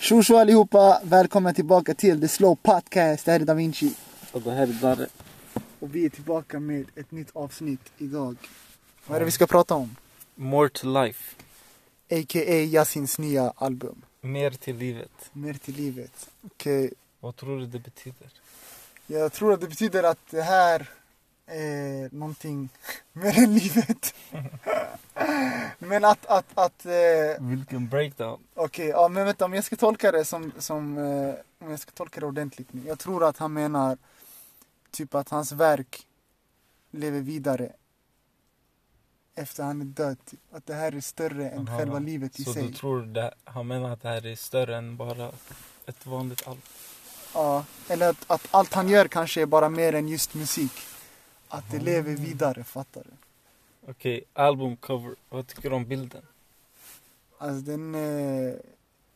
Tjo tjo allihopa! Välkomna tillbaka till The Slow Podcast. Det här är Da Vinci. Och det här är Darre. Och vi är tillbaka med ett nytt avsnitt idag. Vad är det vi ska prata om? More to life. A.k.a. Yasins nya album. Mer till livet. Mer till livet. Okej, Vad tror du det betyder? jag tror att det betyder att det här är någonting mer än livet. Men att, att, att... Eh, Vilken breakdown. Okej, ja, men vänta om jag ska tolka det som, som eh, om jag ska tolka det ordentligt nu. Jag tror att han menar typ att hans verk lever vidare efter han är död. Typ. Att det här är större än Aha, själva livet i Så sig. du tror det, han menar att det här är större än bara ett vanligt album? Ja, eller att, att allt han gör kanske är bara mer än just musik. Att det lever vidare, fattar du? Okej, albumcover. Vad tycker du om bilden? Alltså den, eh,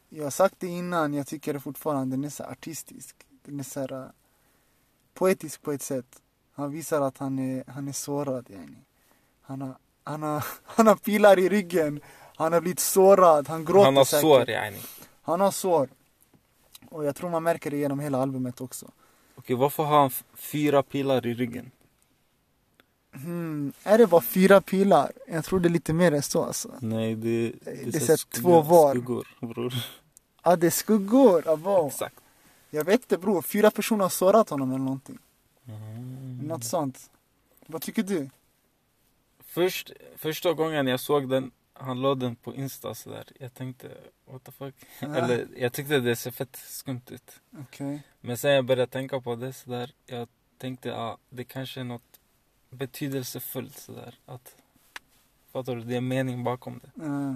jag har sagt det innan, jag tycker det fortfarande, den är så här artistisk. Den är så här, eh, poetisk på ett sätt. Han visar att han är, han är sårad yani. Han har, han, har, han har pilar i ryggen, han har blivit sårad, han gråter han har säkert. sår yani. Okej, Han har sår. Och jag tror man märker det genom hela albumet också. varför har han f- fyra pilar i ryggen? Hmm, är det bara fyra pilar? Jag tror det är lite mer än så alltså. Nej, det, Det är så här två var. skuggor bror. Ja, ah, det är skuggor, abo. Exakt. Jag vet det bror, fyra personer har sårat honom eller någonting. Något sånt. Vad tycker du? Först, första gången jag såg den, han la den på Insta sådär. Jag tänkte, what the fuck? Ja. Eller jag tyckte det ser fett skumt ut. Okej. Men sen jag började tänka på det sådär, jag tänkte ja, det kanske är något betydelsefullt sådär. Att, fattar du? Det är mening bakom det. Eh,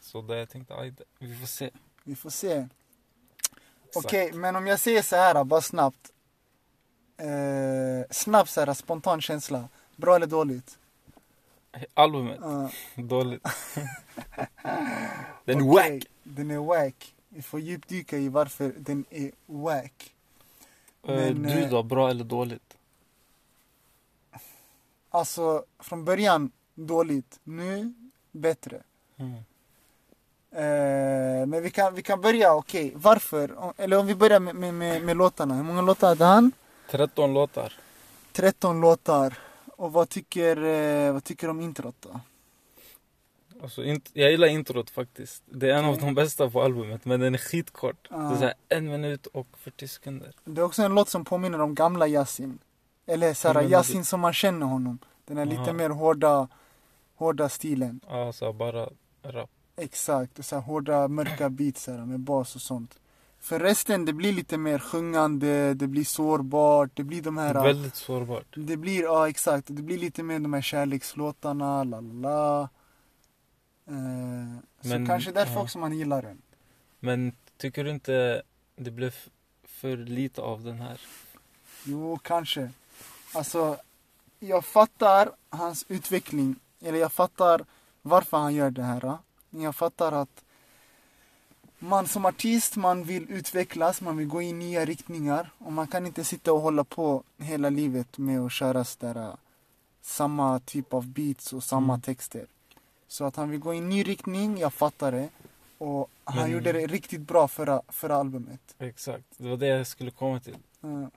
Så där jag tänkte, aj, det- vi får se. vi får se. Exakt. Okej, men om jag säger så här bara snabbt. Eh, snabbt så här, spontan känsla. Bra eller dåligt? Albumet, Eh, dåligt. den är okej, wack! Den är wack. Vi får djupdyka i varför den är wack. Eh, men, du eh, då, bra eller dåligt? Alltså, från början dåligt. Nu, bättre. Mm. Eh, men vi kan, vi kan börja, okej. Varför? Om- Eller om vi börjar med, med, med, med låtarna. Hur många låtar hade han? 13 låtar. 13 låtar. Och vad tycker, eh, vad tycker du om introt då? Alltså, int- jag gillar introt faktiskt. Det är en av Okej. de bästa på albumet, men den är skitkort. Ja. Det är så här en minut och 40 sekunder. Det är också en låt som påminner om gamla Yasin. Eller Hur såhär menar Yasin som man känner honom. Den här lite Aha. mer hårda, hårda stilen. Ja, så här bara rap. Exakt, och så här hårda mörka beats här med bas och sånt. För resten det blir lite mer sjungande, det blir sårbart, det blir de här... Väldigt sårbart. Det blir, ja exakt, det blir lite mer de här kärlekslåtarna, la la la. Eh, så Men, kanske därför ja. också man gillar den. Men tycker du inte det blev f- för lite av den här? Jo, kanske. Alltså, jag fattar hans utveckling. Eller jag fattar varför han gör det här. Men jag fattar att man som artist, man vill utvecklas, man vill gå in i nya riktningar. Och man kan inte sitta och hålla på hela livet med att köra sådär samma typ av beats och samma Mm. texter. Så att han vill gå i en ny riktning, jag fattar det. Och han Men- gjorde det riktigt bra förra, förra albumet. Exakt, det var det jag skulle komma till. Mm.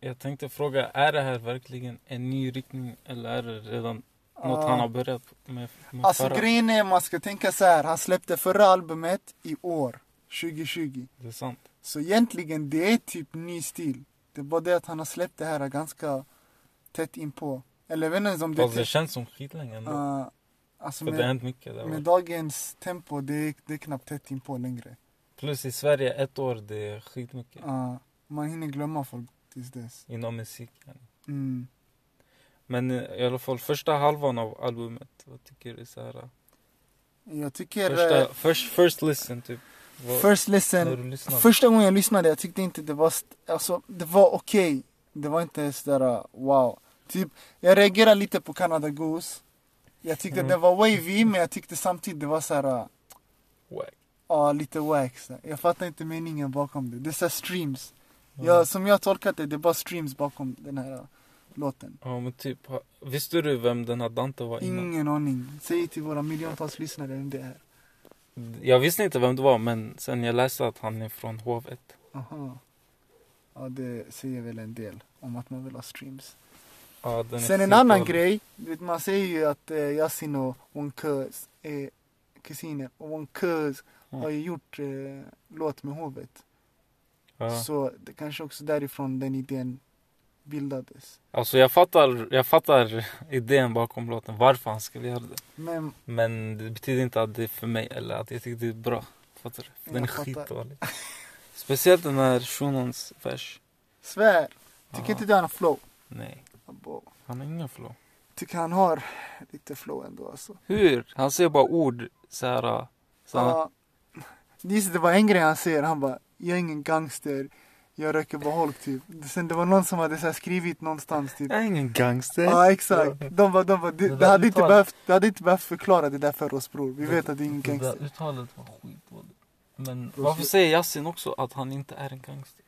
Jag tänkte fråga, är det här verkligen en ny riktning eller är det redan något Ja. han har börjat med, med Alltså förra? grejen är, man ska tänka så här. Han släppte förra albumet i år, 2020. Det är sant. Så egentligen, det är typ ny stil. Det är bara det att han har släppt det här ganska tätt inpå. Eller jag vet inte ens om det... Fast det typ, känns som skitlänge ändå. ah, alltså Alltså, för det har med, hänt mycket där. med dagens tempo, det är, det är knappt tätt inpå längre. Plus i Sverige, ett år, det är skitmycket. Ah, man hinner glömma folk tills dess. Inom musiken. Mm. Men eh, i alla fall första halvan av albumet, vad tycker du? Så här, Jag tycker... eh, första, first, first listen typ. Vad- first listen, när du lyssnar. Första gången jag lyssnade, jag tyckte inte det var, st- alltså det var okej. Det var inte sådär uh, wow. Typ, jag reagerade lite på Canada Goose. Jag tyckte Mm. det var wavy, men jag tyckte samtidigt det var såhär, uh, Wack. ja, lite wax. Jag fattar inte meningen bakom det. Det är såhär streams. Ja. Jag, som jag har tolkat det, det är bara streams bakom den här uh, låten. Ja men typ, ha- visste du vem den här Dante var innan? Ingen aning. Säg till våra miljontals lyssnare vem det är. Jag visste inte vem det var men sen jag läste att han är från hovet. Aha. Ja, det säger väl en del om att man vill ha streams. Ja, den är Sen en skitdålig. annan grej. Du vet, man säger ju att eh, Yasin och Wonkus är kusiner. Och Wonkus Ja. har ju gjort eh, låt med hovet. Ja. Så det kanske också därifrån den idén bildades. Alltså jag fattar, jag fattar idén bakom låten, varför han skulle göra det. Men Men det betyder inte att det är för mig eller att jag tycker det är bra. Fattar du? För Den är Jag fattar. skitdålig. Speciellt den här shunons vers. svär, tycker Ja, inte du han har flow? Nej, Abo. han har ingen flow. Tycker han har lite flow ändå alltså. Hur? Han säger bara ord så här. Så här. Ja. Just det var en grej han säger, han bara jag är ingen gangster, jag röker bara holk typ. Sen det var någon som hade så här skrivit någonstans typ. Jag är ingen gangster. Ja exakt, de bara, de bara, det, Det där det hade inte uttalet. behövt, det hade inte behövt förklara det där för oss bror. Vi Det- vet att det är ingen Det där gangster. uttalet var skitdåligt. Men Bror, varför så- säger Yasin också att han inte är en gangster?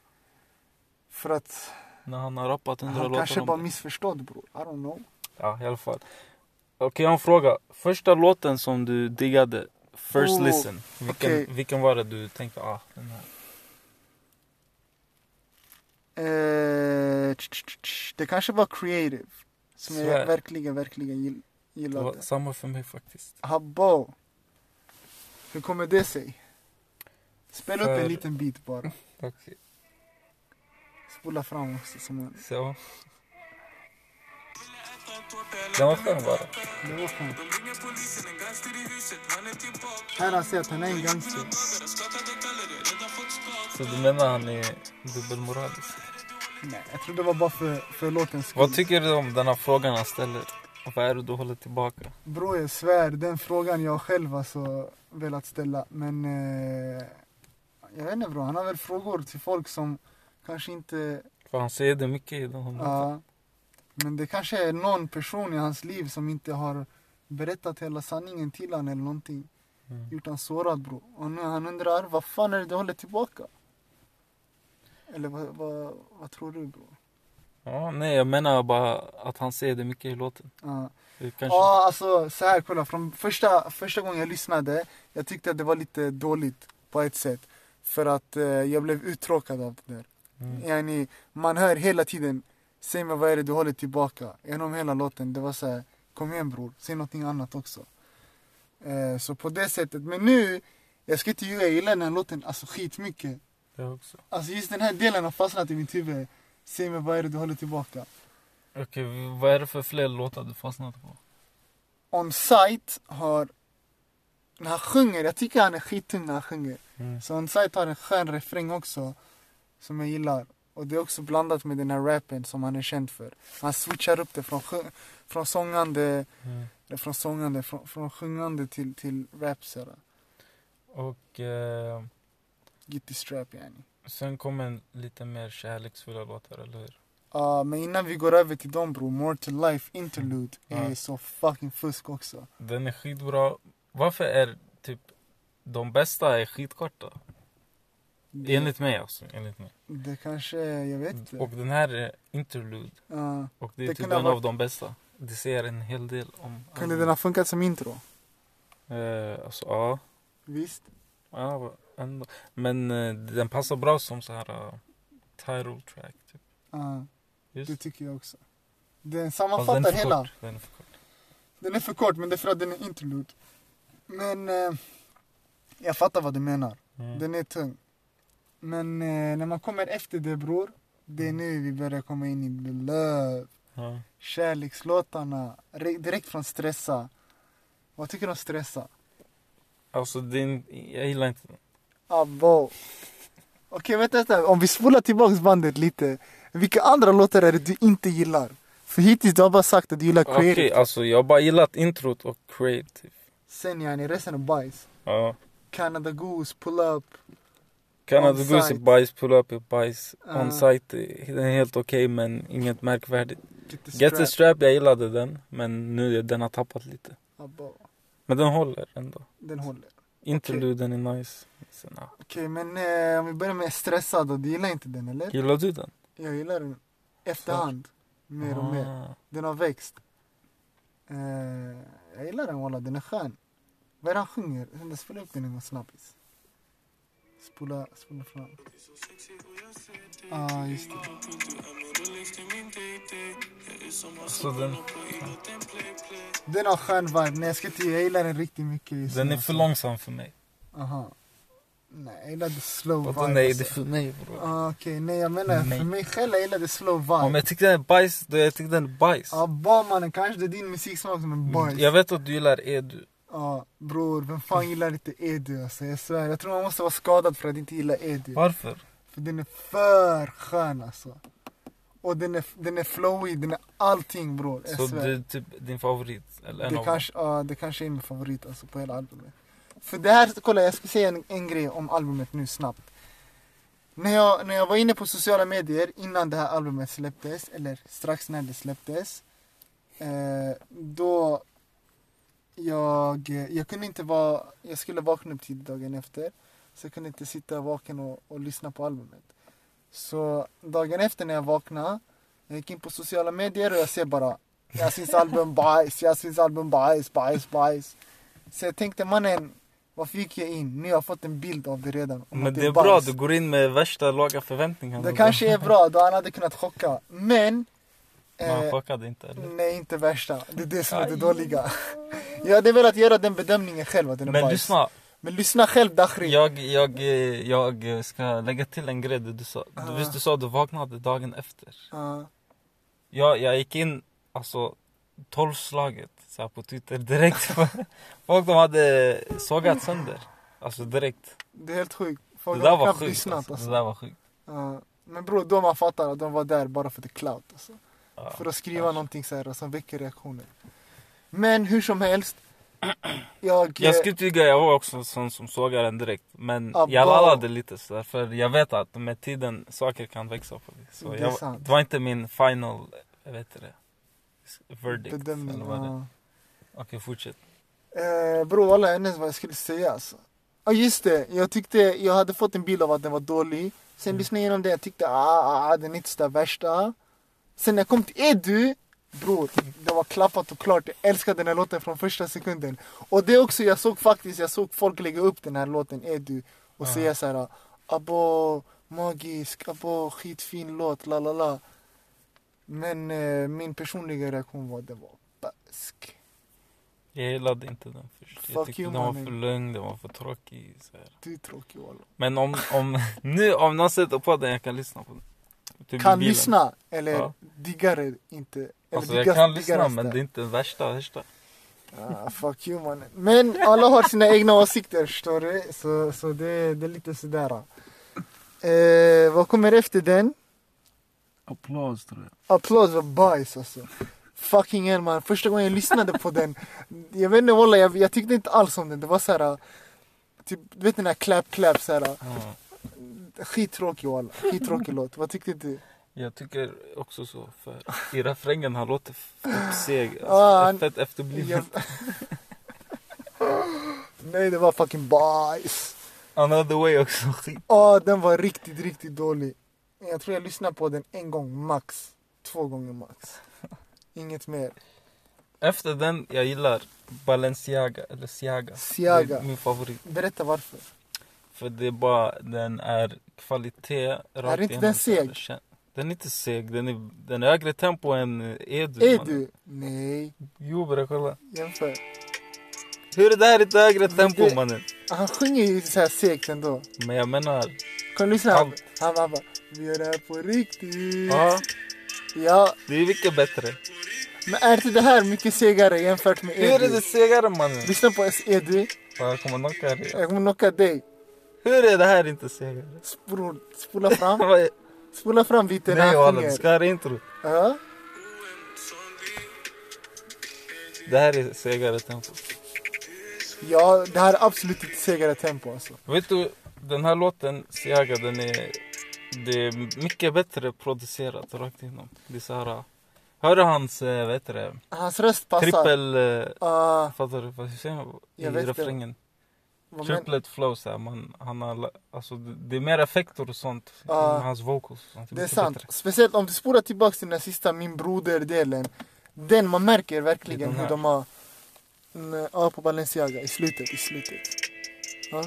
För att När han har rappat hundra han låtar kanske om bara det. missförstådd bror. I don't know. Ja, i alla fall. Okej, jag har en fråga. Första låten som du diggade, First Oh, Listen. Vilken, okej. vilken var det du tänkte, ah, den här. Eh, tch, tch, tch, tch. det kanske var creative. Som Svär. jag verkligen, verkligen gill- Det var gillade. samma för mig faktiskt. Habbo. Hur kommer det sig? Spela upp För- en liten bit bara. Okej, Spola fram också. Som en... så. Den var skön bara. det var fan. Här han säger att han är en gangster. Så du menar han är dubbelmoralisk? Nej, jag tror det var bara för, för låtens skull. Vad tycker du om den här frågan han ställer? Vad är det du håller tillbaka? Bro, jag svär, den frågan jag själv alltså velat ställa. Men eh, jag vet inte bro, han har väl frågor till folk som kanske inte För han säger det mycket i den här låten. Ja. Men det kanske är någon person i hans liv som inte har berättat hela sanningen till han eller någonting. Mm. Gjort han sårad bro. Och nu han undrar, vad fan är det du håller tillbaka? Eller vad, vad, vad tror du bro? Ja, nej, jag menar bara att han säger det mycket i låten. Ja, Det kanske... ja alltså så här kolla. Från första, första gången jag lyssnade, jag tyckte att det var lite dåligt på ett sätt. För att eh, jag blev uttråkad av det där. Mm. Yani, man hör hela tiden, säg mig vad är det du håller tillbaka? Genom hela låten, det var så här, kom igen bror, säg någonting annat också. Eh, så på det sättet, men nu, jag ska inte ljuga, jag gillar den här låten alltså skitmycket. Det också. Alltså just den här delen har fastnat i mitt huvud. Säg mig vad är det du håller tillbaka? Okej, vad är det för fler låtar du fastnat på? On sight har, när han sjunger, jag tycker han är skittung när han sjunger. Mm. Så On sight har en skön refräng också, som jag gillar. Och det är också blandat med den här rappen som han är känd för. Han switchar upp det från, sjö- från sångande, Mm. eller från sångande, från, från sjungande till, till rap sådär. Och eh, Gitty strap yani. sen kom en lite mer kärleksfulla låtar, eller hur? Ja, Ah, men innan vi går över till dem bro, More to Life Interlude är Ja. så fucking fusk också. Den är skitbra. Varför är typ de bästa är skitkorta? Det, Enligt mig alltså, enligt mig. det kanske, jag vet inte. Ah, Och den här är interlude Ja. och det är Det typ en kunde ha av varit- de bästa. Det säger en hel del om... kunde den ha funkat som intro? Eh, alltså, ja. Visst? ja vad- ändå. Men eh, den passar bra som så här eh, title track. Typ. Ja, det Just. tycker jag också. Den Fast den sammanfattar är för hela. kort. Den är för kort. Den är för kort men det är för att den är interlude. Men eh, jag fattar vad du menar. Mm. Den är tung. Men eh, när man kommer efter det bror, det är Mm. nu vi börjar komma in i the love. Ja. Kärlekslåtarna, re- direkt från stressa. Vad tycker du om stressa? Alltså din, jag gillar inte den. Abo. Okej vänta, vänta, om vi spolar tillbaks bandet lite. Vilka andra låtar är det du inte gillar? För hittills du har bara sagt att du gillar Okej, creative. alltså jag har bara gillat introt och creative. Sen yani, resten är bajs. Ja. Canada Goose, Pull Up. Canada On Goose är site. bajs, pull up är bajs. Ja. On site är- den är helt okej men inget märkvärdigt. Get the Get the Strap. strap, jag gillade den. Men nu är den har tappat lite. Abba, Men den håller ändå. den håller. Interluden är nice. Sen, ja. Okej, men eh, om vi börjar med stressad då. Du gillar inte den eller? Gillar du den? Jag gillar den. Efterhand. Mer och mer. Ah. Den har växt. Eh, jag gillar den walla, den är skön. Vad är det han sjunger? Kan du spela upp den en gång snabbis? Spola, spola fram. Ah, just det. Alltså den, Den har skön vibe. Nej, jag ska inte, jag gillar den riktigt mycket just den nu, är alltså. för långsam för mig. Aha. Nej, jag gillar the slow Och vibe. den är det alltså. för mig bror. ah, Okej, nej jag menar Nej. för mig själv jag gillar the slow Om vibe. jag tycker den är bajs, då jag tycker den är bajs. Ja, barmannen kanske det är din musiksmak som är boys. Mm, Jag vet att du gillar Edu. Ja, bror, vem fan gillar inte Edu alltså? Jag svär, jag tror man måste vara skadad för att inte gilla Edu. Varför? För den är för skön alltså. Och den är, den är flowig, den är allting bror. Jag Så svär. det är typ din favorit? Eller en det, av dem? kanske, ja, det kanske är min favorit alltså, på hela albumet. För det här, kolla jag ska säga en, en grej om albumet nu snabbt. När jag, när jag var inne på sociala medier innan det här albumet släpptes, eller strax när det släpptes. Eh, då jag, jag kunde inte vara, jag skulle vakna upp till dagen efter. Så jag kunde inte sitta vaken och, och lyssna på albumet. Så dagen efter när jag vaknade, jag gick in på sociala medier och jag ser bara Yasins album bajs, Yasins album bajs, bajs, bajs. Så jag tänkte mannen, varför gick jag in? Nu har jag fått en bild av det redan. om Men att det är bra, bajs. du går in med värsta låga förväntningar. Det kanske är bra, då han hade kunnat chocka. Men... Men han eh, chockade inte eller? Nej, inte värsta. Det är det som är det Aj. dåliga. Jag hade velat göra den bedömningen själv att den är Men bajs. lyssna, Men lyssna själv Dakhri. jag, jag, eh, jag ska lägga till en grej det du sa. Ah. Du, visst du sa att du vaknade dagen efter? Ja. Jag, jag gick in, alltså, tolvslaget så här på Twitter direkt. Folk de hade sågat sönder. Alltså direkt. det är helt sjukt. Det Folk där har var knappt sjukt lyssnat alltså. alltså. Det där var sjukt. Ja. Men bror, då man fattar att de var där bara för att det är clout. Alltså. Ja. För att skriva någonting så här som väcker reaktioner. Men hur som helst. Jag... Jag ska inte ljuga, jag var också en sån som sågade den direkt. Men Ah, jag bra. lallade lite sådär för jag vet att med tiden saker kan växa på det. Så Det är jag, sant. det var inte min final, jag vet inte det, verdict. eh, bedömning. eller vad det. ja. Okej fortsätt. Eh, bror walla, jag vet inte vad jag skulle säga alltså. Ja just det, jag tyckte, jag hade fått en bild av att den var dålig. Sen Mm. lyssnade jag igenom den, jag tyckte ah, ah, ah den är inte så där värsta. Sen när jag kom till Edu, bror, det var klappat och klart. Jag älskade den här låten från första sekunden. Och det också, jag såg faktiskt, jag såg folk lägga upp den här låten Edu och Ja. säga så här, abo, magisk, abo, skitfin låt, la la la. Men eh, min personliga reaktion var, det var bask. Jag gillade inte den först. Fuck Jag tyckte you, den var mannen. för lugn, den var för tråkig. Så här. Du är tråkig walla. Men om, om, nu om någon sätter på den, jag kan lyssna på den. Typ i kan bilen. lyssna eller Ja. diggar det inte. Eller Alltså jag diggas- kan lyssna diggas men där. det är inte den värsta, värsta. Ah, fuck you mannen. Men alla har sina egna åsikter förstår du. Så, så det, det är lite sådär. Eh, vad kommer efter den? Applås tror jag. Applåd var bajs alltså. Fucking hell man. Första gången jag lyssnade på den. Jag vet inte walla, jag, jag tyckte inte alls om den. Det var såhär. Typ, du vet den här clap clap såhär. Ja. Skittråkig walla. Skittråkig låt. Vad tyckte du? Jag tycker också så, för i refrängen han låter fett seg, Ja, han- alltså, fett efterbliven. Jag... Nej det var fucking bajs. Another way också, skit. Ja, den var riktigt, riktigt dålig. Jag tror jag lyssnade på den en gång max. Två gånger max. Inget mer. Efter den, jag gillar Balenciaga, eller Siaga. Det Siaga. är min favorit. Berätta varför. För det är bara, den är kvalitet rakt Är inte igenom, den så här, seg? det kän- Den är inte seg, den är, den är högre tempo än eh, Edu. Är man. du? Nej, Jo bre, kolla. jämför. Hur är det där inte högre Men tempo det- mannen? Ah, Han sjunger ju så här segt ändå. Men jag menar, Kan du lyssna? Han, Allt. han bara, vi gör det här på riktigt. ja, Ja, det är mycket bättre. men är inte det här mycket segare jämfört med Hur är det Edu? segare mannen? Lyssna på Edu. Ja, Jag kommer knocka dig. Jag kommer knocka dig. Hur är det här inte segare? Bror, spola fram. Vad är- Spola fram lite när Nej han walla, du ska sjunger. höra intro. Ja. Det här är segare tempo. Ja, det här är absolut inte segare tempo alltså. Vet du, den här låten, Siaga, den är... Det är mycket bättre producerat rakt igenom. Det är så här... Hör du hans, eh, vad heter det, Hans röst passar. trippel... eh, Ah, Fattar du vad jag säger? I Jag vet det. refrängen. vad men, Triplet flow så här, man, han har, la- alltså det det är mer effekter och sånt. Ja. med hans vocals och sånt. det är mycket sant. bättre. Speciellt om du spolar tillbaka till den här sista Min broder-delen. Den man märker Det är verkligen den hur här. de har Nej, ja, på Balenciaga. I slutet, i slutet. Ja.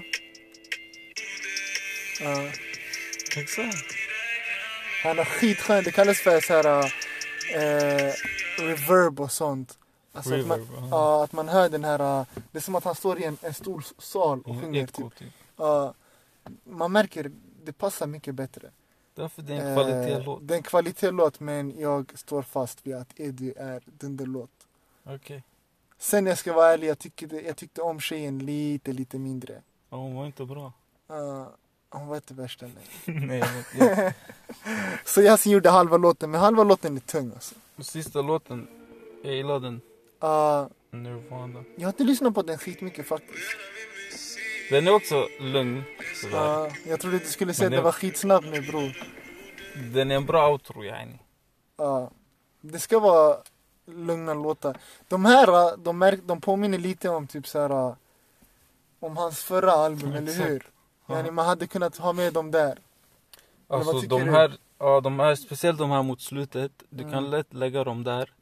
Ja. Exakt. Han är skitskön. Det kallas för så här eh, reverb och sånt. Alltså att man, Reverb, ja. ja, att man hör den här, eh, det är som att han står i en, en stor sal och Mm, sjunger. Eko Typ. typ. Ja, man märker, det passar mycket bättre. Därför det är en kvalitetslåt. Eh, det är en kvalitetslåt men jag står fast vid att Eddie är dunderlåt. Okej. Sen jag ska vara ärlig, jag tyckte, jag tyckte om tjejen lite, lite mindre. Ja, hon var inte bra. Eh, hon var inte värsta nej. Nej, jag vet. Ja. Så Yasin gjorde halva låten, men halva låten är tung alltså. Sista låten, jag gillar den. Eh, Nirvana. jag har inte lyssnat på den skitmycket faktiskt. Den är också lugn. Sådär. Ja, jag trodde du skulle säga att Men det jag- var skitsnabb nu bror. Den är en bra outro yani. Ja, det ska vara lugna låtar. De här, äh, de, märk, de påminner lite om typ så här äh, om hans förra album, Ja, eller exakt. hur? Ja. Yani man hade kunnat ha med dem där. vad Alltså tycker de du? här, ja de här, speciellt de här mot slutet. Du Mm. kan lätt lägga dem där.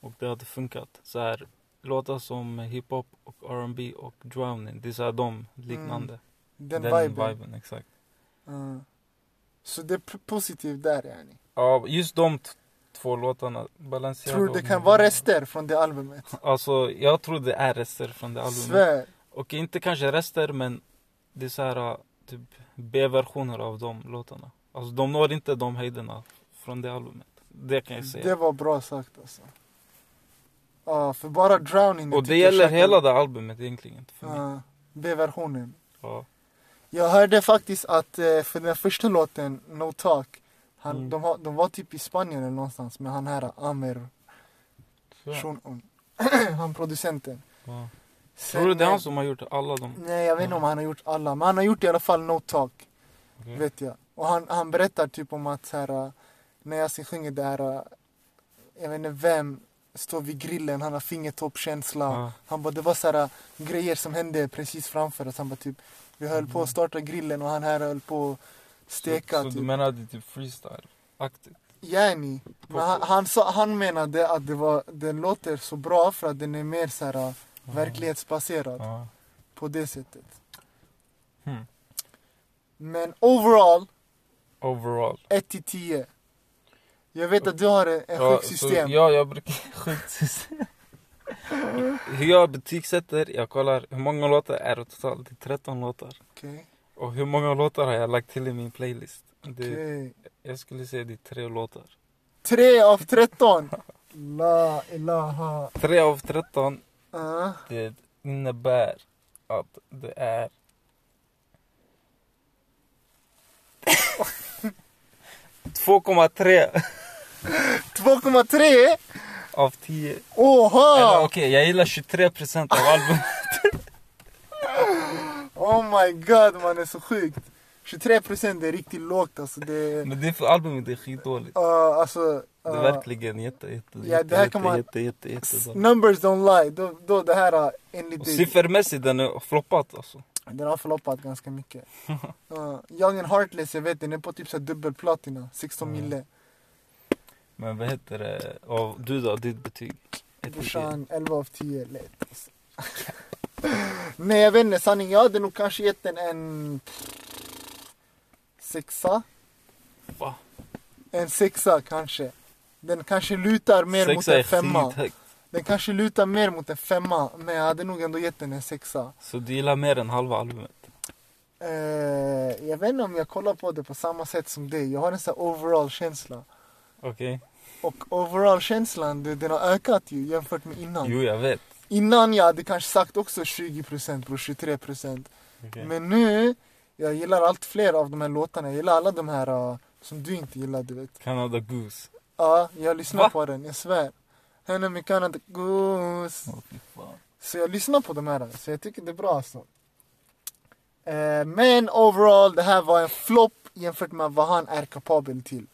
Och det hade funkat. Så här, låtar som hiphop och R&B och drowning. Det är så här de liknande. Mm. Den, Den viben. viben exakt. Ja. Så det är p- positivt där yani. Ja, just de t- två låtarna. Balenciaga Tror det och kan Nirvana. vara rester från det albumet? Alltså jag tror det är rester från det albumet. Svär. Och inte kanske rester men det är så här äh, typ B-versioner av de låtarna. Alltså de når inte de höjderna från det albumet. Det kan jag säga. Mm. Det var bra sagt alltså. Ja, för bara Drowning. och tycker det jag gäller käkar- hela det albumet egentligen. För mig. Ja, B-versionen. Ja. Jag hörde faktiskt att eh, för den första låten, No Talk, han, Mm. de, har, de var typ i Spanien eller någonstans med han här Amer Så. Shunon. han producenten. Ja. Sen, Mm, Tror du det är eh, han som Mm. har gjort alla de? Nej jag vet inte om han har gjort alla, men han har gjort i alla fall No Talk. Okej. Vet jag. Och han, han berättar typ om att så här, äh, när Yasin sjunger det här, äh, jag vet inte vem, står vid grillen, han har fingertoppkänsla. Ja. Han bara, det var så här äh, grejer som hände precis framför oss. Han bara typ, vi höll på att starta grillen och han här höll på att steka. Mm. Så, så du typ. menar det är typ freestyle-aktigt? Yani. Men han, han, sa, han menade att det var, den låter så bra för att den är mer så här, äh, verklighetsbaserad Ja. på det sättet. Hmm. Men overall, Overall. 1 till 10. Jag vet att du har ett ett Ja, sjukt system. Så, ja, jag brukar... Sjukt system. hur jag betygsätter, jag kollar hur många låtar är det totalt? Det är 13 låtar. Okej. Och hur många låtar har jag lagt till i min playlist? Det, Okej. Jag skulle säga det är tre låtar. Tre av tretton! La ilaha. Tre av 13, Uh, det innebär att det är... ...2,3 2,3! av 10. Eller Oha! okej, jag gillar 23% av albumet. Oh my god man, det är så sjukt. 23 procent är riktigt lågt alltså. Det, uh, Men det är för albumet är skitdåligt. alltså Mm. Det är eh, verkligen jätte, jätte, Ja, jätte, det här jätte, kan man- jätte, jätte, s- jätte, jätte numbers don't lie. Då, då det här uh, enligt Och dig, siffermässigt den är floppat alltså. den har förloppat ganska mycket. Uh, Young and Heartless, jag vet den är på typ så här dubbelplatina, 16 Mm. mille. Men vad heter det? Och du då, ditt betyg? Ett till tio. Brorsan, 11 av 10 lätt. alltså. Nej jag vet inte, sanning. Jag hade nog kanske gett den en sexa. Va? En sexa kanske. Den kanske lutar mer mot Sexa en är femma. skithögt. Den kanske lutar mer mot en femma. Men jag hade nog ändå gett den en sexa. Så du gillar mer än halva albumet? Eh, jag vet inte om jag kollar på det på samma sätt som dig. Jag har en sån här overall känsla. Okej. Och overall känslan du, den har ökat ju jämfört med innan. Jo, jag vet. Innan jag hade kanske sagt också 20% bror, 23%. Okej. Men nu, jag gillar allt fler av de här låtarna. Jag gillar alla de här uh, som du inte gillar, du vet. Canada Goose. Ja, jag lyssnar Va? på den, jag svär. Henne med Canada Goose. Åh, fy fan. Så jag lyssnar på de här, så jag tycker det är bra alltså. Eh, men overall, det här var en flopp jämfört med vad han är kapabel till.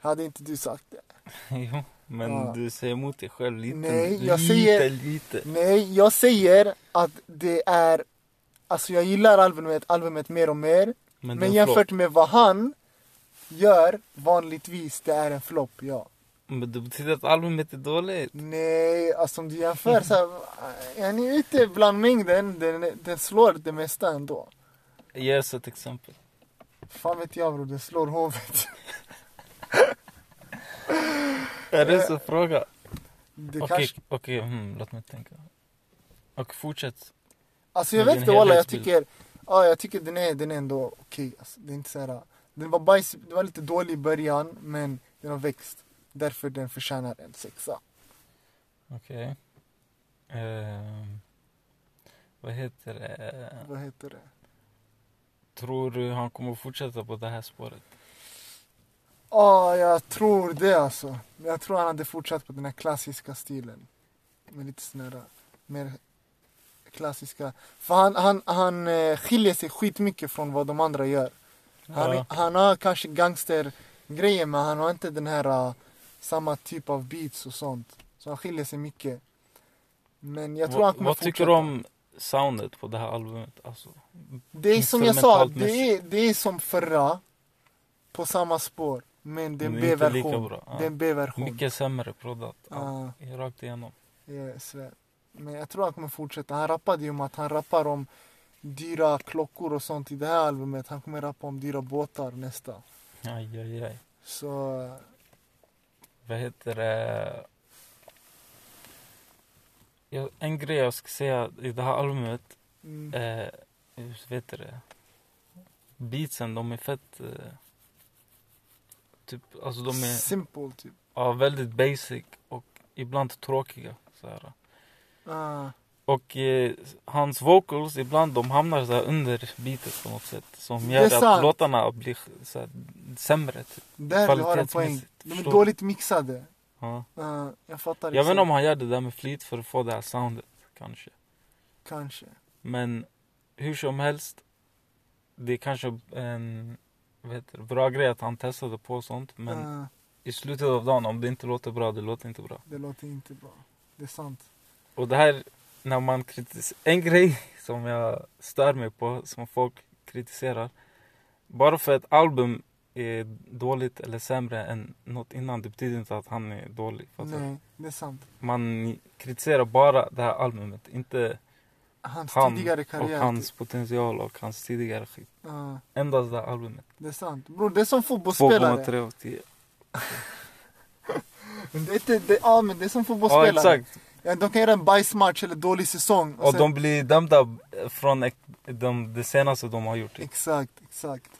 Hade inte du sagt det? Jo, men Ja. du säger emot dig själv lite. Nej, jag lite, säger- Lite, Nej, jag säger att det är... Alltså jag gillar albumet, albumet mer och mer. Men, Men, det är en jämfört flopp. med vad han gör vanligtvis, det är en flopp, ja. Men det betyder att albumet är dåligt. Nej, alltså om du jämför så här, han är ute bland mängden, den, den slår det mesta ändå. Ge oss ett exempel. Fan vet jag bror, den slår hovet. Är det så fråga? Det Okej, kanske, okej, hmm, låt mig tänka. Och fortsätt. alltså jag det är vet en inte walla, jag helhetsbild. tycker, ja jag tycker den är, den är ändå okej. Alltså, det är inte så här, den var bajs, den var lite dålig i början, men den har växt. Därför den förtjänar en sexa. Okej. Ehm, vad heter det? Vad heter det? Tror du han kommer fortsätta på det här spåret? Ja, jag tror det alltså. Jag tror han hade fortsatt på den här klassiska stilen. Med lite snära, mer klassiska. För han, han, han eh, skiljer sig skitmycket från vad de andra gör. Han, Ja. han har kanske gangstergrejer men han har inte den här eh, samma typ av beats och sånt. Så han skiljer sig mycket. Men jag tror Vad- han kommer vad fortsätta. tycker du om soundet på det här albumet? Alltså, Det är som jag sa, Instrumentalt det är, det är som förra. På samma spår. Men det är en Men inte lika B-version. bra, ja. Det är en B-version. mycket sämre proddat. Ja. Ja, Rakt igenom. jag svär. Men jag tror han kommer fortsätta. Han rappade ju om att han rappar om dyra klockor och sånt i det här albumet. Han kommer rappa om dyra båtar nästa. Aj, aj, aj. Så Vad heter det? Ja, en grej jag ska säga i det här albumet. mm, Eh, hur heter det? Beatsen, de är fett... Eh, typ, alltså de är simple typ. ja, väldigt basic och ibland tråkiga. Så här. Ah, Och eh, hans vocals, ibland de hamnar så här under beatet på något sätt. Som Det gör är sant. att låtarna blir så här, sämre. Typ. där du har en poäng. Kvalitetsmässigt, De är förstår. dåligt mixade. Ja. Ah, jag fattar Jag vet inte exakt. om han gör det där med flit för att få det här soundet kanske. Kanske. Men hur som helst. Det är kanske en vad heter det, bra grej att han testade på sånt. Men Ah, i slutet av dagen om det inte låter bra, det låter inte bra. det låter inte bra. Det är sant. Och det här, när man kritiserar... En grej som jag stör mig på, som folk kritiserar. Bara för ett album är dåligt eller sämre än något innan, det betyder inte att han är dålig. Fattar du? Nej, det är sant. Man kritiserar bara det här albumet, inte Hans Han tidigare och karriär. typ. hans potential och hans tidigare skit. Ah, Endast det här albumet. det är sant. Bror, det är som fotbollsspelare. 2,3 av 10. Men Det är inte, det, ja men det är som Ja fotbollsspelare. exakt. Ja, de kan göra en bajsmatch eller dålig säsong. Och sen- de blir dömda från ek- de, det senaste de har gjort. Typ, Exakt, exakt.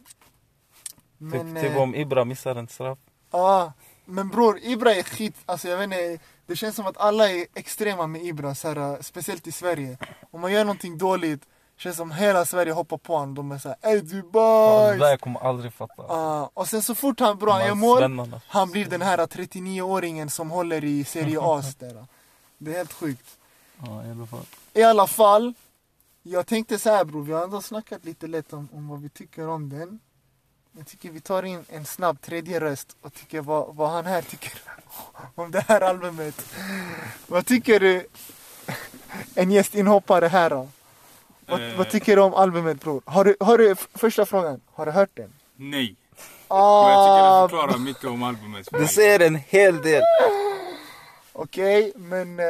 Men, typ eh, om Ibra missar en straff. ja, men bror, Ibra är skit. Alltså jag vet inte, det känns som att alla är extrema med Ibra, så här, eh, speciellt i Sverige. Om man gör någonting dåligt, känns som hela Sverige hoppar på honom. De är såhär, ey du är Ja, det där bajs! kommer jag aldrig fatta. Ja, och sen så fort han, bror, De han här gör mål, svennarna. han blir den här 39-åringen som håller i Serie A. så där. Det är helt sjukt. Ja, i alla fall. I alla fall, jag tänkte så här bror, vi har ändå snackat lite lätt om, om vad vi tycker om den. Jag tycker vi tar in en snabb tredje röst och tycker vad, vad han här tycker om det här albumet. Vad tycker du, en gästinhoppare här då? Vad, Eh. vad tycker du om albumet bror? Har du, har du, f- första frågan, har du hört den? Nej. Och jag tycker Ah, det förklarar mycket om albumet för Det mig. säger en hel del. Okej, men eh,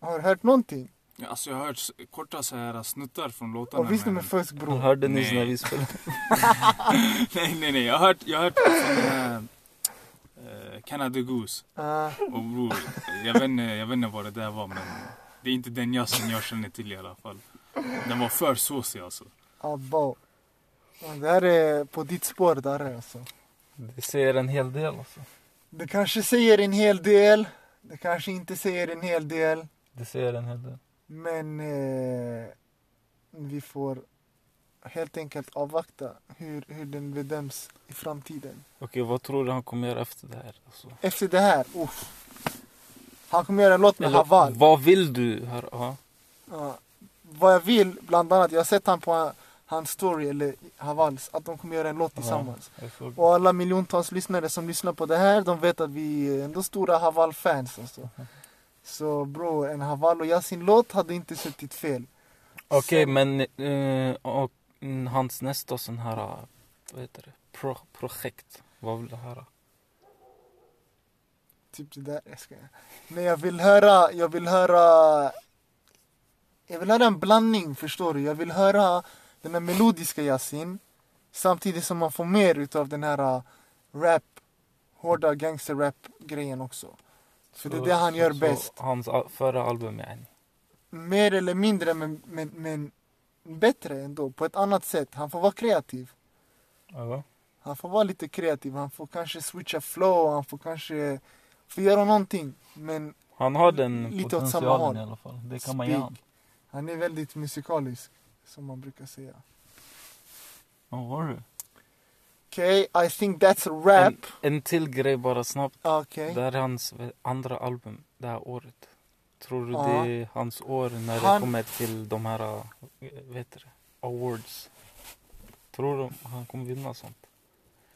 har du hört någonting? Alltså jag har hört s- korta så här snuttar från låtarna. Och visst de är men- Mm. fusk Hon bror? hörde nyss Nej. när vi spelade. Nej, nej, nej. Jag har hört, jag har hört från den här eh, Canada Goose. Ah, Och bror, jag vet, inte, jag vet inte vad det där var men det är inte den jazzen jag känner till i alla fall. Den var för såsig alltså. Abba. Ja, Det här är på ditt spår där alltså. Det säger en hel del alltså. Det kanske säger en hel del. Det kanske inte säger en hel del. Det säger en hel del. Men eh, vi får helt enkelt avvakta hur, hur den bedöms i framtiden. Okej, vad tror du han kommer göra efter det här? Alltså? Efter det här, uff. Han kommer göra en låt med Haval. vad vill du höra? Ja. Ja. Vad jag vill, bland annat, jag har sett han på hans story, eller Havals, att de kommer göra en låt tillsammans. Jag såg. Och alla miljontals lyssnare som lyssnar på det här, de vet att vi är ändå stora Haval-fans alltså. Så bro, en Haval och Yasin-låt hade inte suttit fel. Okej, Så- men eh, och, mm, hans nästa sån här, eh, vad heter det, Pro, projekt. Vad vill du höra? typ det där. Jag skojar. Men jag vill höra, jag vill höra jag vill höra en blandning förstår du. Jag vill höra den här melodiska Yasin samtidigt som man får mer utav den här äh, rap, hårda gangsterrap grejen också. För det är det han gör bäst. Hans al- förra album yani. Mer eller mindre men, men, men bättre ändå på ett annat sätt. Han får vara kreativ. Ja. Han får vara lite kreativ, han får kanske switcha flow, han får kanske får göra någonting. Men Han har den Lite åt samma potentialen håll. i alla fall. Det kan man ge han. Spig, han är väldigt musikalisk, som man brukar säga. Ja, har du? Okej, okay, I think that's a wrap. Ah, En, en till grej bara snabbt. Okej. Det här är hans eh, andra album det här året. Tror du Ja. det är hans år när det Han- kommer till de här, eh, vet du, det, awards? Tror du han kommer vinna sånt?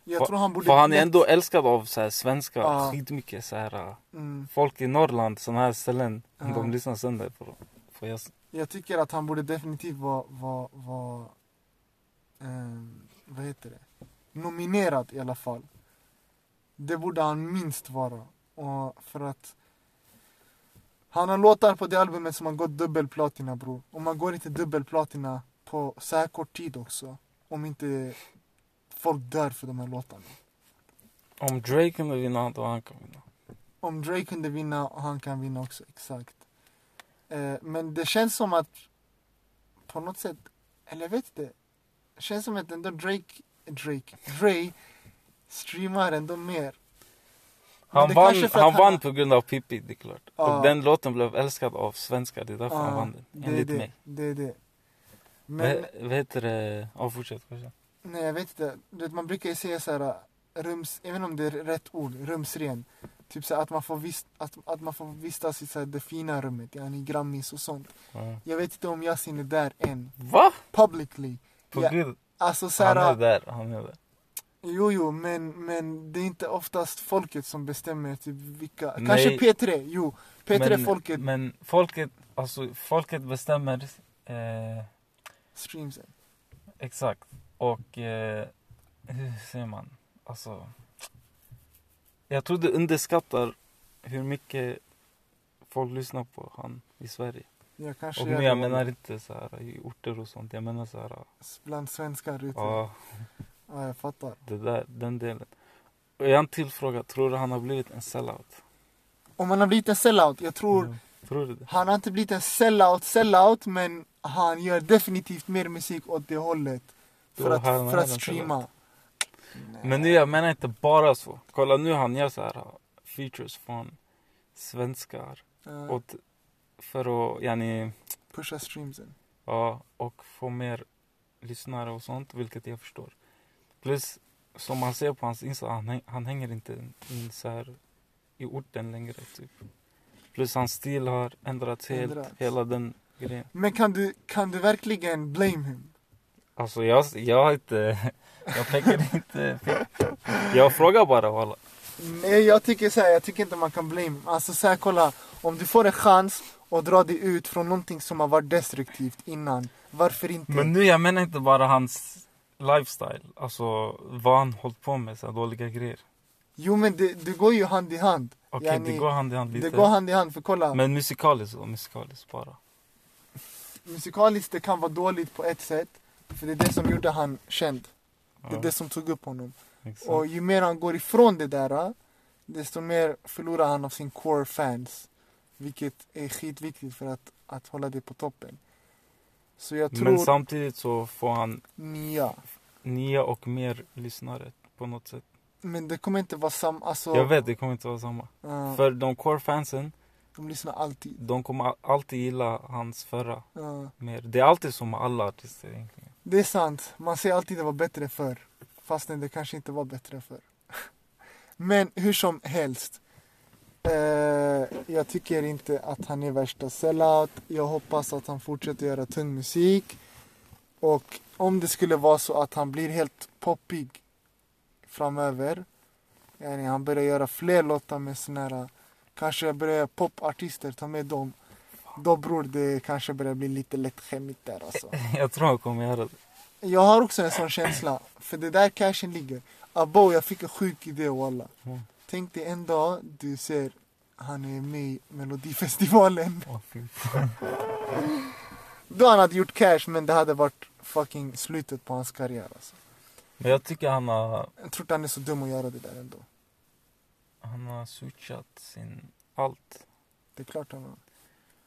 Jag tror han borde... För han är ändå älskad av så här svenska Ja. skitmycket så här eh, Mm. folk i Norrland, såna här ställen. Ja. De lyssnar sönder på dem. Får jag... s- Jag tycker att han borde definitivt vara... vara, vara ehm, vad heter det? Nominerad i alla fall. Det borde han minst vara. Och för att... Han har låtar på det albumet som har gått dubbelplatina bror. Och man går inte dubbelplatina på så här kort tid också. Om inte folk dör för de här låtarna. Om Drake kunde vinna, då han kan vinna. Om Drake kunde vinna, han kan vinna också, exakt. Eh, men det känns som att på något sätt, eller jag vet inte. Det känns som att ändå Drake, Drake, Dre streamar ändå mer. Men Han det vann, kanske för han, att vann på grund av Pippi, det är klart. Ja. Och den låten blev älskad av svenskar, det är därför han Ja, vann den. det är Enligt det, mig. Det är det. Men, Men... Vad heter det? Ja, fortsätt. fortsätt. nej jag vet inte. Du vet, man brukar ju säga så här, rums, även om det är rätt ord, rumsren. Typ så här, att man får, vist, att, att man får vistas i så här, det fina rummet, yani Grammis och sånt. Ja. Jag vet inte om Yasin är där än, Va? publicly. På Ja, gud. Alltså Han är såhär, där, han är där. jo jo men, men det är inte oftast folket som bestämmer typ vilka, Nej. kanske P3, jo P3 men, folket Men folket, alltså folket bestämmer eh, streamsen exakt. Och eh, hur säger man? Alltså. Jag tror det underskattar hur mycket folk lyssnar på han i Sverige. Jag kanske Och gör nu det jag menar inte så här i orter och sånt. Jag menar så här. bland svenskar ute ja. Ja, jag fattar det där, den delen. Och jag har en till fråga. Tror du han har blivit en sellout? Om han har blivit en sellout, jag tror Mm. Tror du det? Han har inte blivit en sellout sellout men han gör definitivt mer musik åt det hållet För Då att, han för är att en streama Men nu jag menar inte bara så. Kolla nu han gör så här uh, features från svenskar. Ja, Åt, för att yani, Pusha streamsen ja, och få mer lyssnare och sånt, vilket jag förstår. Plus, som man ser på hans Insta, han, häng- han hänger inte in så här i orten längre. Typ. Plus hans stil har ändrats helt, Ändrats. hela den grejen. Men kan du, kan du verkligen blame him? Alltså jag, jag har inte, jag tänker inte, jag frågar bara Mm. walla. Nej jag tycker så här, jag tycker inte man kan blame. Alltså så här, kolla. Om du får en chans att dra dig ut från någonting som har varit destruktivt innan. Varför inte? Men nu, jag menar inte bara hans lifestyle. Alltså vad han hållit på med, så här dåliga grejer. Jo men det, det går ju hand i hand. Okej, Yani, det går hand i hand lite. Det går hand i hand för kolla. Men musikaliskt då, musikaliskt bara. Musikaliskt det kan vara dåligt på ett sätt. För det är det som gjorde han känd. Det Ja, är det som tog upp honom. exakt. Och ju mer han går ifrån det där. ah, Desto mer förlorar han av sin core fans. Vilket är skitviktigt för att, att hålla det på toppen. Så jag Men tror... samtidigt så får han Ja. nya och mer lyssnare på något sätt. Men det kommer inte vara samma, alltså. Jag vet, det kommer inte vara samma. ja, För de core fansen, de lyssnar alltid. ah. de kommer al- alltid gilla hans förra Ja, mer. Det är alltid som med alla artister egentligen. det är sant. Man säger alltid det var bättre förr. Fastän det kanske inte var bättre förr. Men hur som helst. Eh, jag tycker inte att han är värsta sellout. Jag hoppas att han fortsätter göra tung musik. Och om det skulle vara så att han blir helt poppig framöver. Yani han börjar göra fler låtar med såna här, kanske börjar popartister, ta med dem. Då bror, det kanske börjar bli lite lätt skämmigt där alltså. Jag tror han kommer göra det. Jag har också en sån känsla, för det är där cashen ligger. Abo, jag fick en sjuk idé walla. Mm. Tänk dig en dag du ser han är med i Melodifestivalen. Åh, fy. Då han hade gjort cash men det hade varit fucking slutet på hans karriär alltså. Men jag tycker han har, Jag tror inte han är så dum att göra det där ändå. han har switchat sin allt. Det är klart han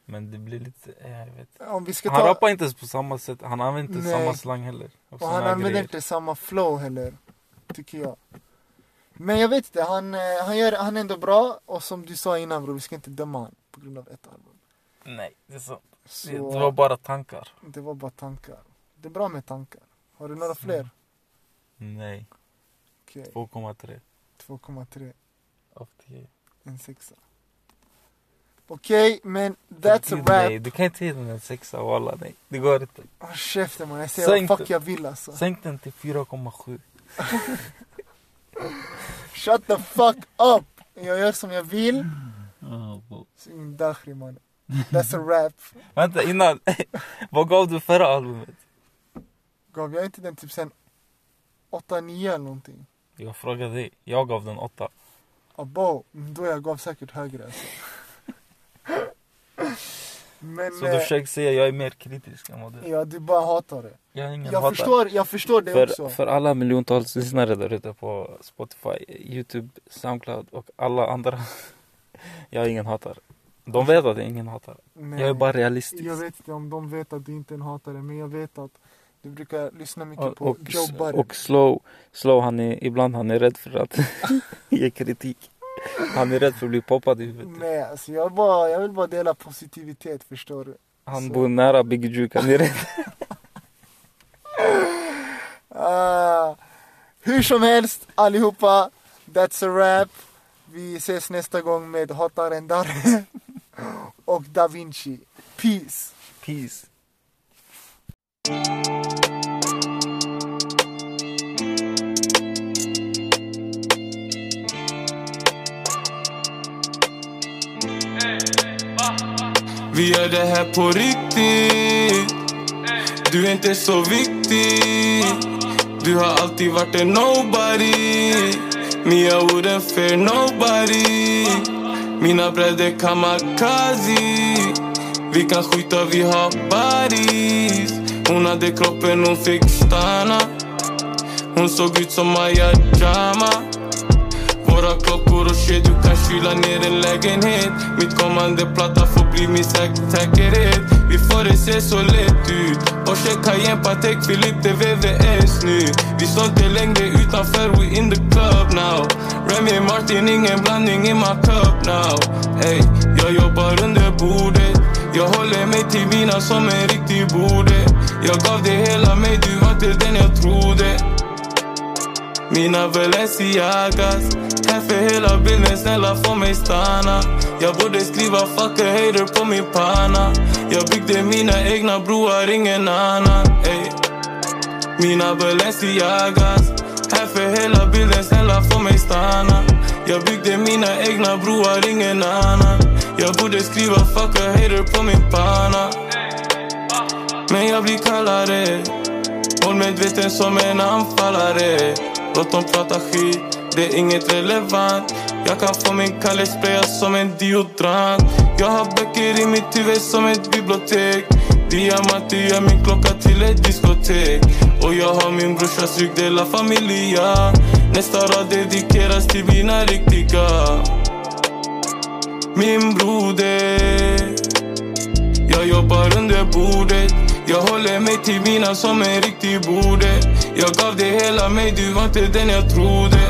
Men det blir lite, eh, jag vet inte. Om vi ska Han ta... rappar inte ens på samma sätt, han använder inte Nej. samma slang heller. Och Och han såna använder grejer. inte samma flow heller, tycker jag. Men jag vet inte, han, eh, han, gör, han är ändå bra och som du sa innan bror, vi ska inte döma han på grund av ett album. Nej, det är så. Så Det, det var bara tankar. det var bara tankar. Det är bra med tankar. Har du några fler? Nej, Okej, 2,3 2,3, av 10. en sexa. Okej, men that's a Nej, wrap. du kan inte ge den en sexa, walla nej. Det går inte. Håll käften man, jag Säg säger inte. vad fuck jag vill alltså. Sänk den till 4,7. Shut the fuck up! Jag gör som jag vill. Oh, wow. Dakhri man. That's a wrap. Vänta innan, vad gav du förra albumet? Gav jag inte den typ sen 8-9 eller någonting? Jag frågade dig, jag gav den 8. Abo, mm, då jag gav säkert högre alltså. Men Så du eh, försöker säga jag är mer kritisk än vad du är. ja, du bara hatar det. Jag har ingen Jag hatar. förstår, jag förstår det för, också. för alla miljontals lyssnare där ute på Spotify, Youtube, Soundcloud och alla andra. Jag är ingen hatar. De vet att jag är ingen hatar. Men, Jag är bara jag realistisk. vet inte om de vet att du inte är en hatare, men jag vet att du brukar lyssna mycket Och, på och, Joe Budden. och slow, slow han är, ibland han är rädd för att ge kritik. Han är rädd för att bli poppad i huvudet. Nej, alltså jag, bara, jag vill bara dela positivitet, förstår du? Han Så- bor nära Big Juke, han är rädd. Ah, hur som helst, allihopa. That's a wrap. Vi ses nästa gång med Hataren Darre och Da Vinci. Peace! Peace. Vi gör det här på riktigt Du är inte så viktig Du har alltid varit en nobody Me I wouldn't fear nobody Mina bröder kamikaze Vi kan skjuta, vi har bodies Hon hade kroppen, hon fick stanna Hon såg ut som Maya Jama våra klockor och shit, du kan kyla ner en lägenhet Mitt kommande platta får bli min säk- säkerhet Vi får det se så lätt ut Porsche Cayenne, Patek Philippe, det är VVS nu Vi står inte längre utanför, we in the club now Remy Martin, ingen blandning i my cup now Ey, jag jobbar under bordet Jag håller mig till mina som en riktig borde Jag gav det hela mig, du var inte den jag trodde mina Balenciagas Här för hela bilden, snälla få mig stanna Jag borde skriva fuck a hater på min panna Jag byggde mina egna broar, ingen annan ey. Mina Balenciagas Här för hela bilden, snälla få mig stanna Jag byggde mina egna broar, ingen annan Jag borde skriva fuck a hater på min panna Men jag blir kallare Målmedveten som en anfallare Låt dem prata skit, det är inget relevant Jag kan få min kalle spraya som en deodorant Jag har böcker i mitt huvud som ett bibliotek Diamant, det gör min klocka till ett diskotek Och jag har min brorsas rygg, de la familia Nästa rad dedikeras till mina riktiga Min broder jag jobbar under bordet Jag håller mig till mina som en riktig borde Jag gav det hela mig, du var inte den jag trodde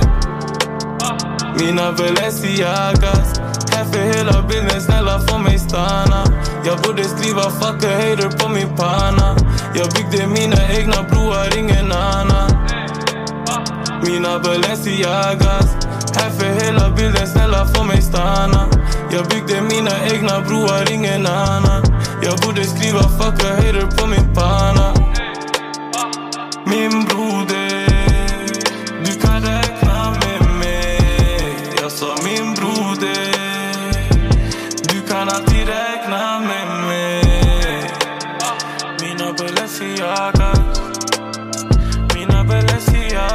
Mina Balenciagas Här för hela bilden, snälla få mig stanna Jag borde skriva fuck a hater på min panna Jag byggde mina egna broar, ingen annan mina Balenciagas Här för hela bilden, snälla få mig stanna Jag byggde mina egna broar, ingen annan Jag borde skriva fuck a hater på min panna Min broder Du kan räkna med mig Jag sa min broder Du kan alltid räkna med mig Mina Balenciagas Mina Balenciaga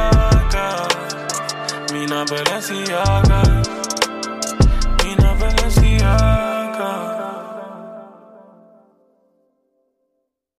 Mina Balenciaga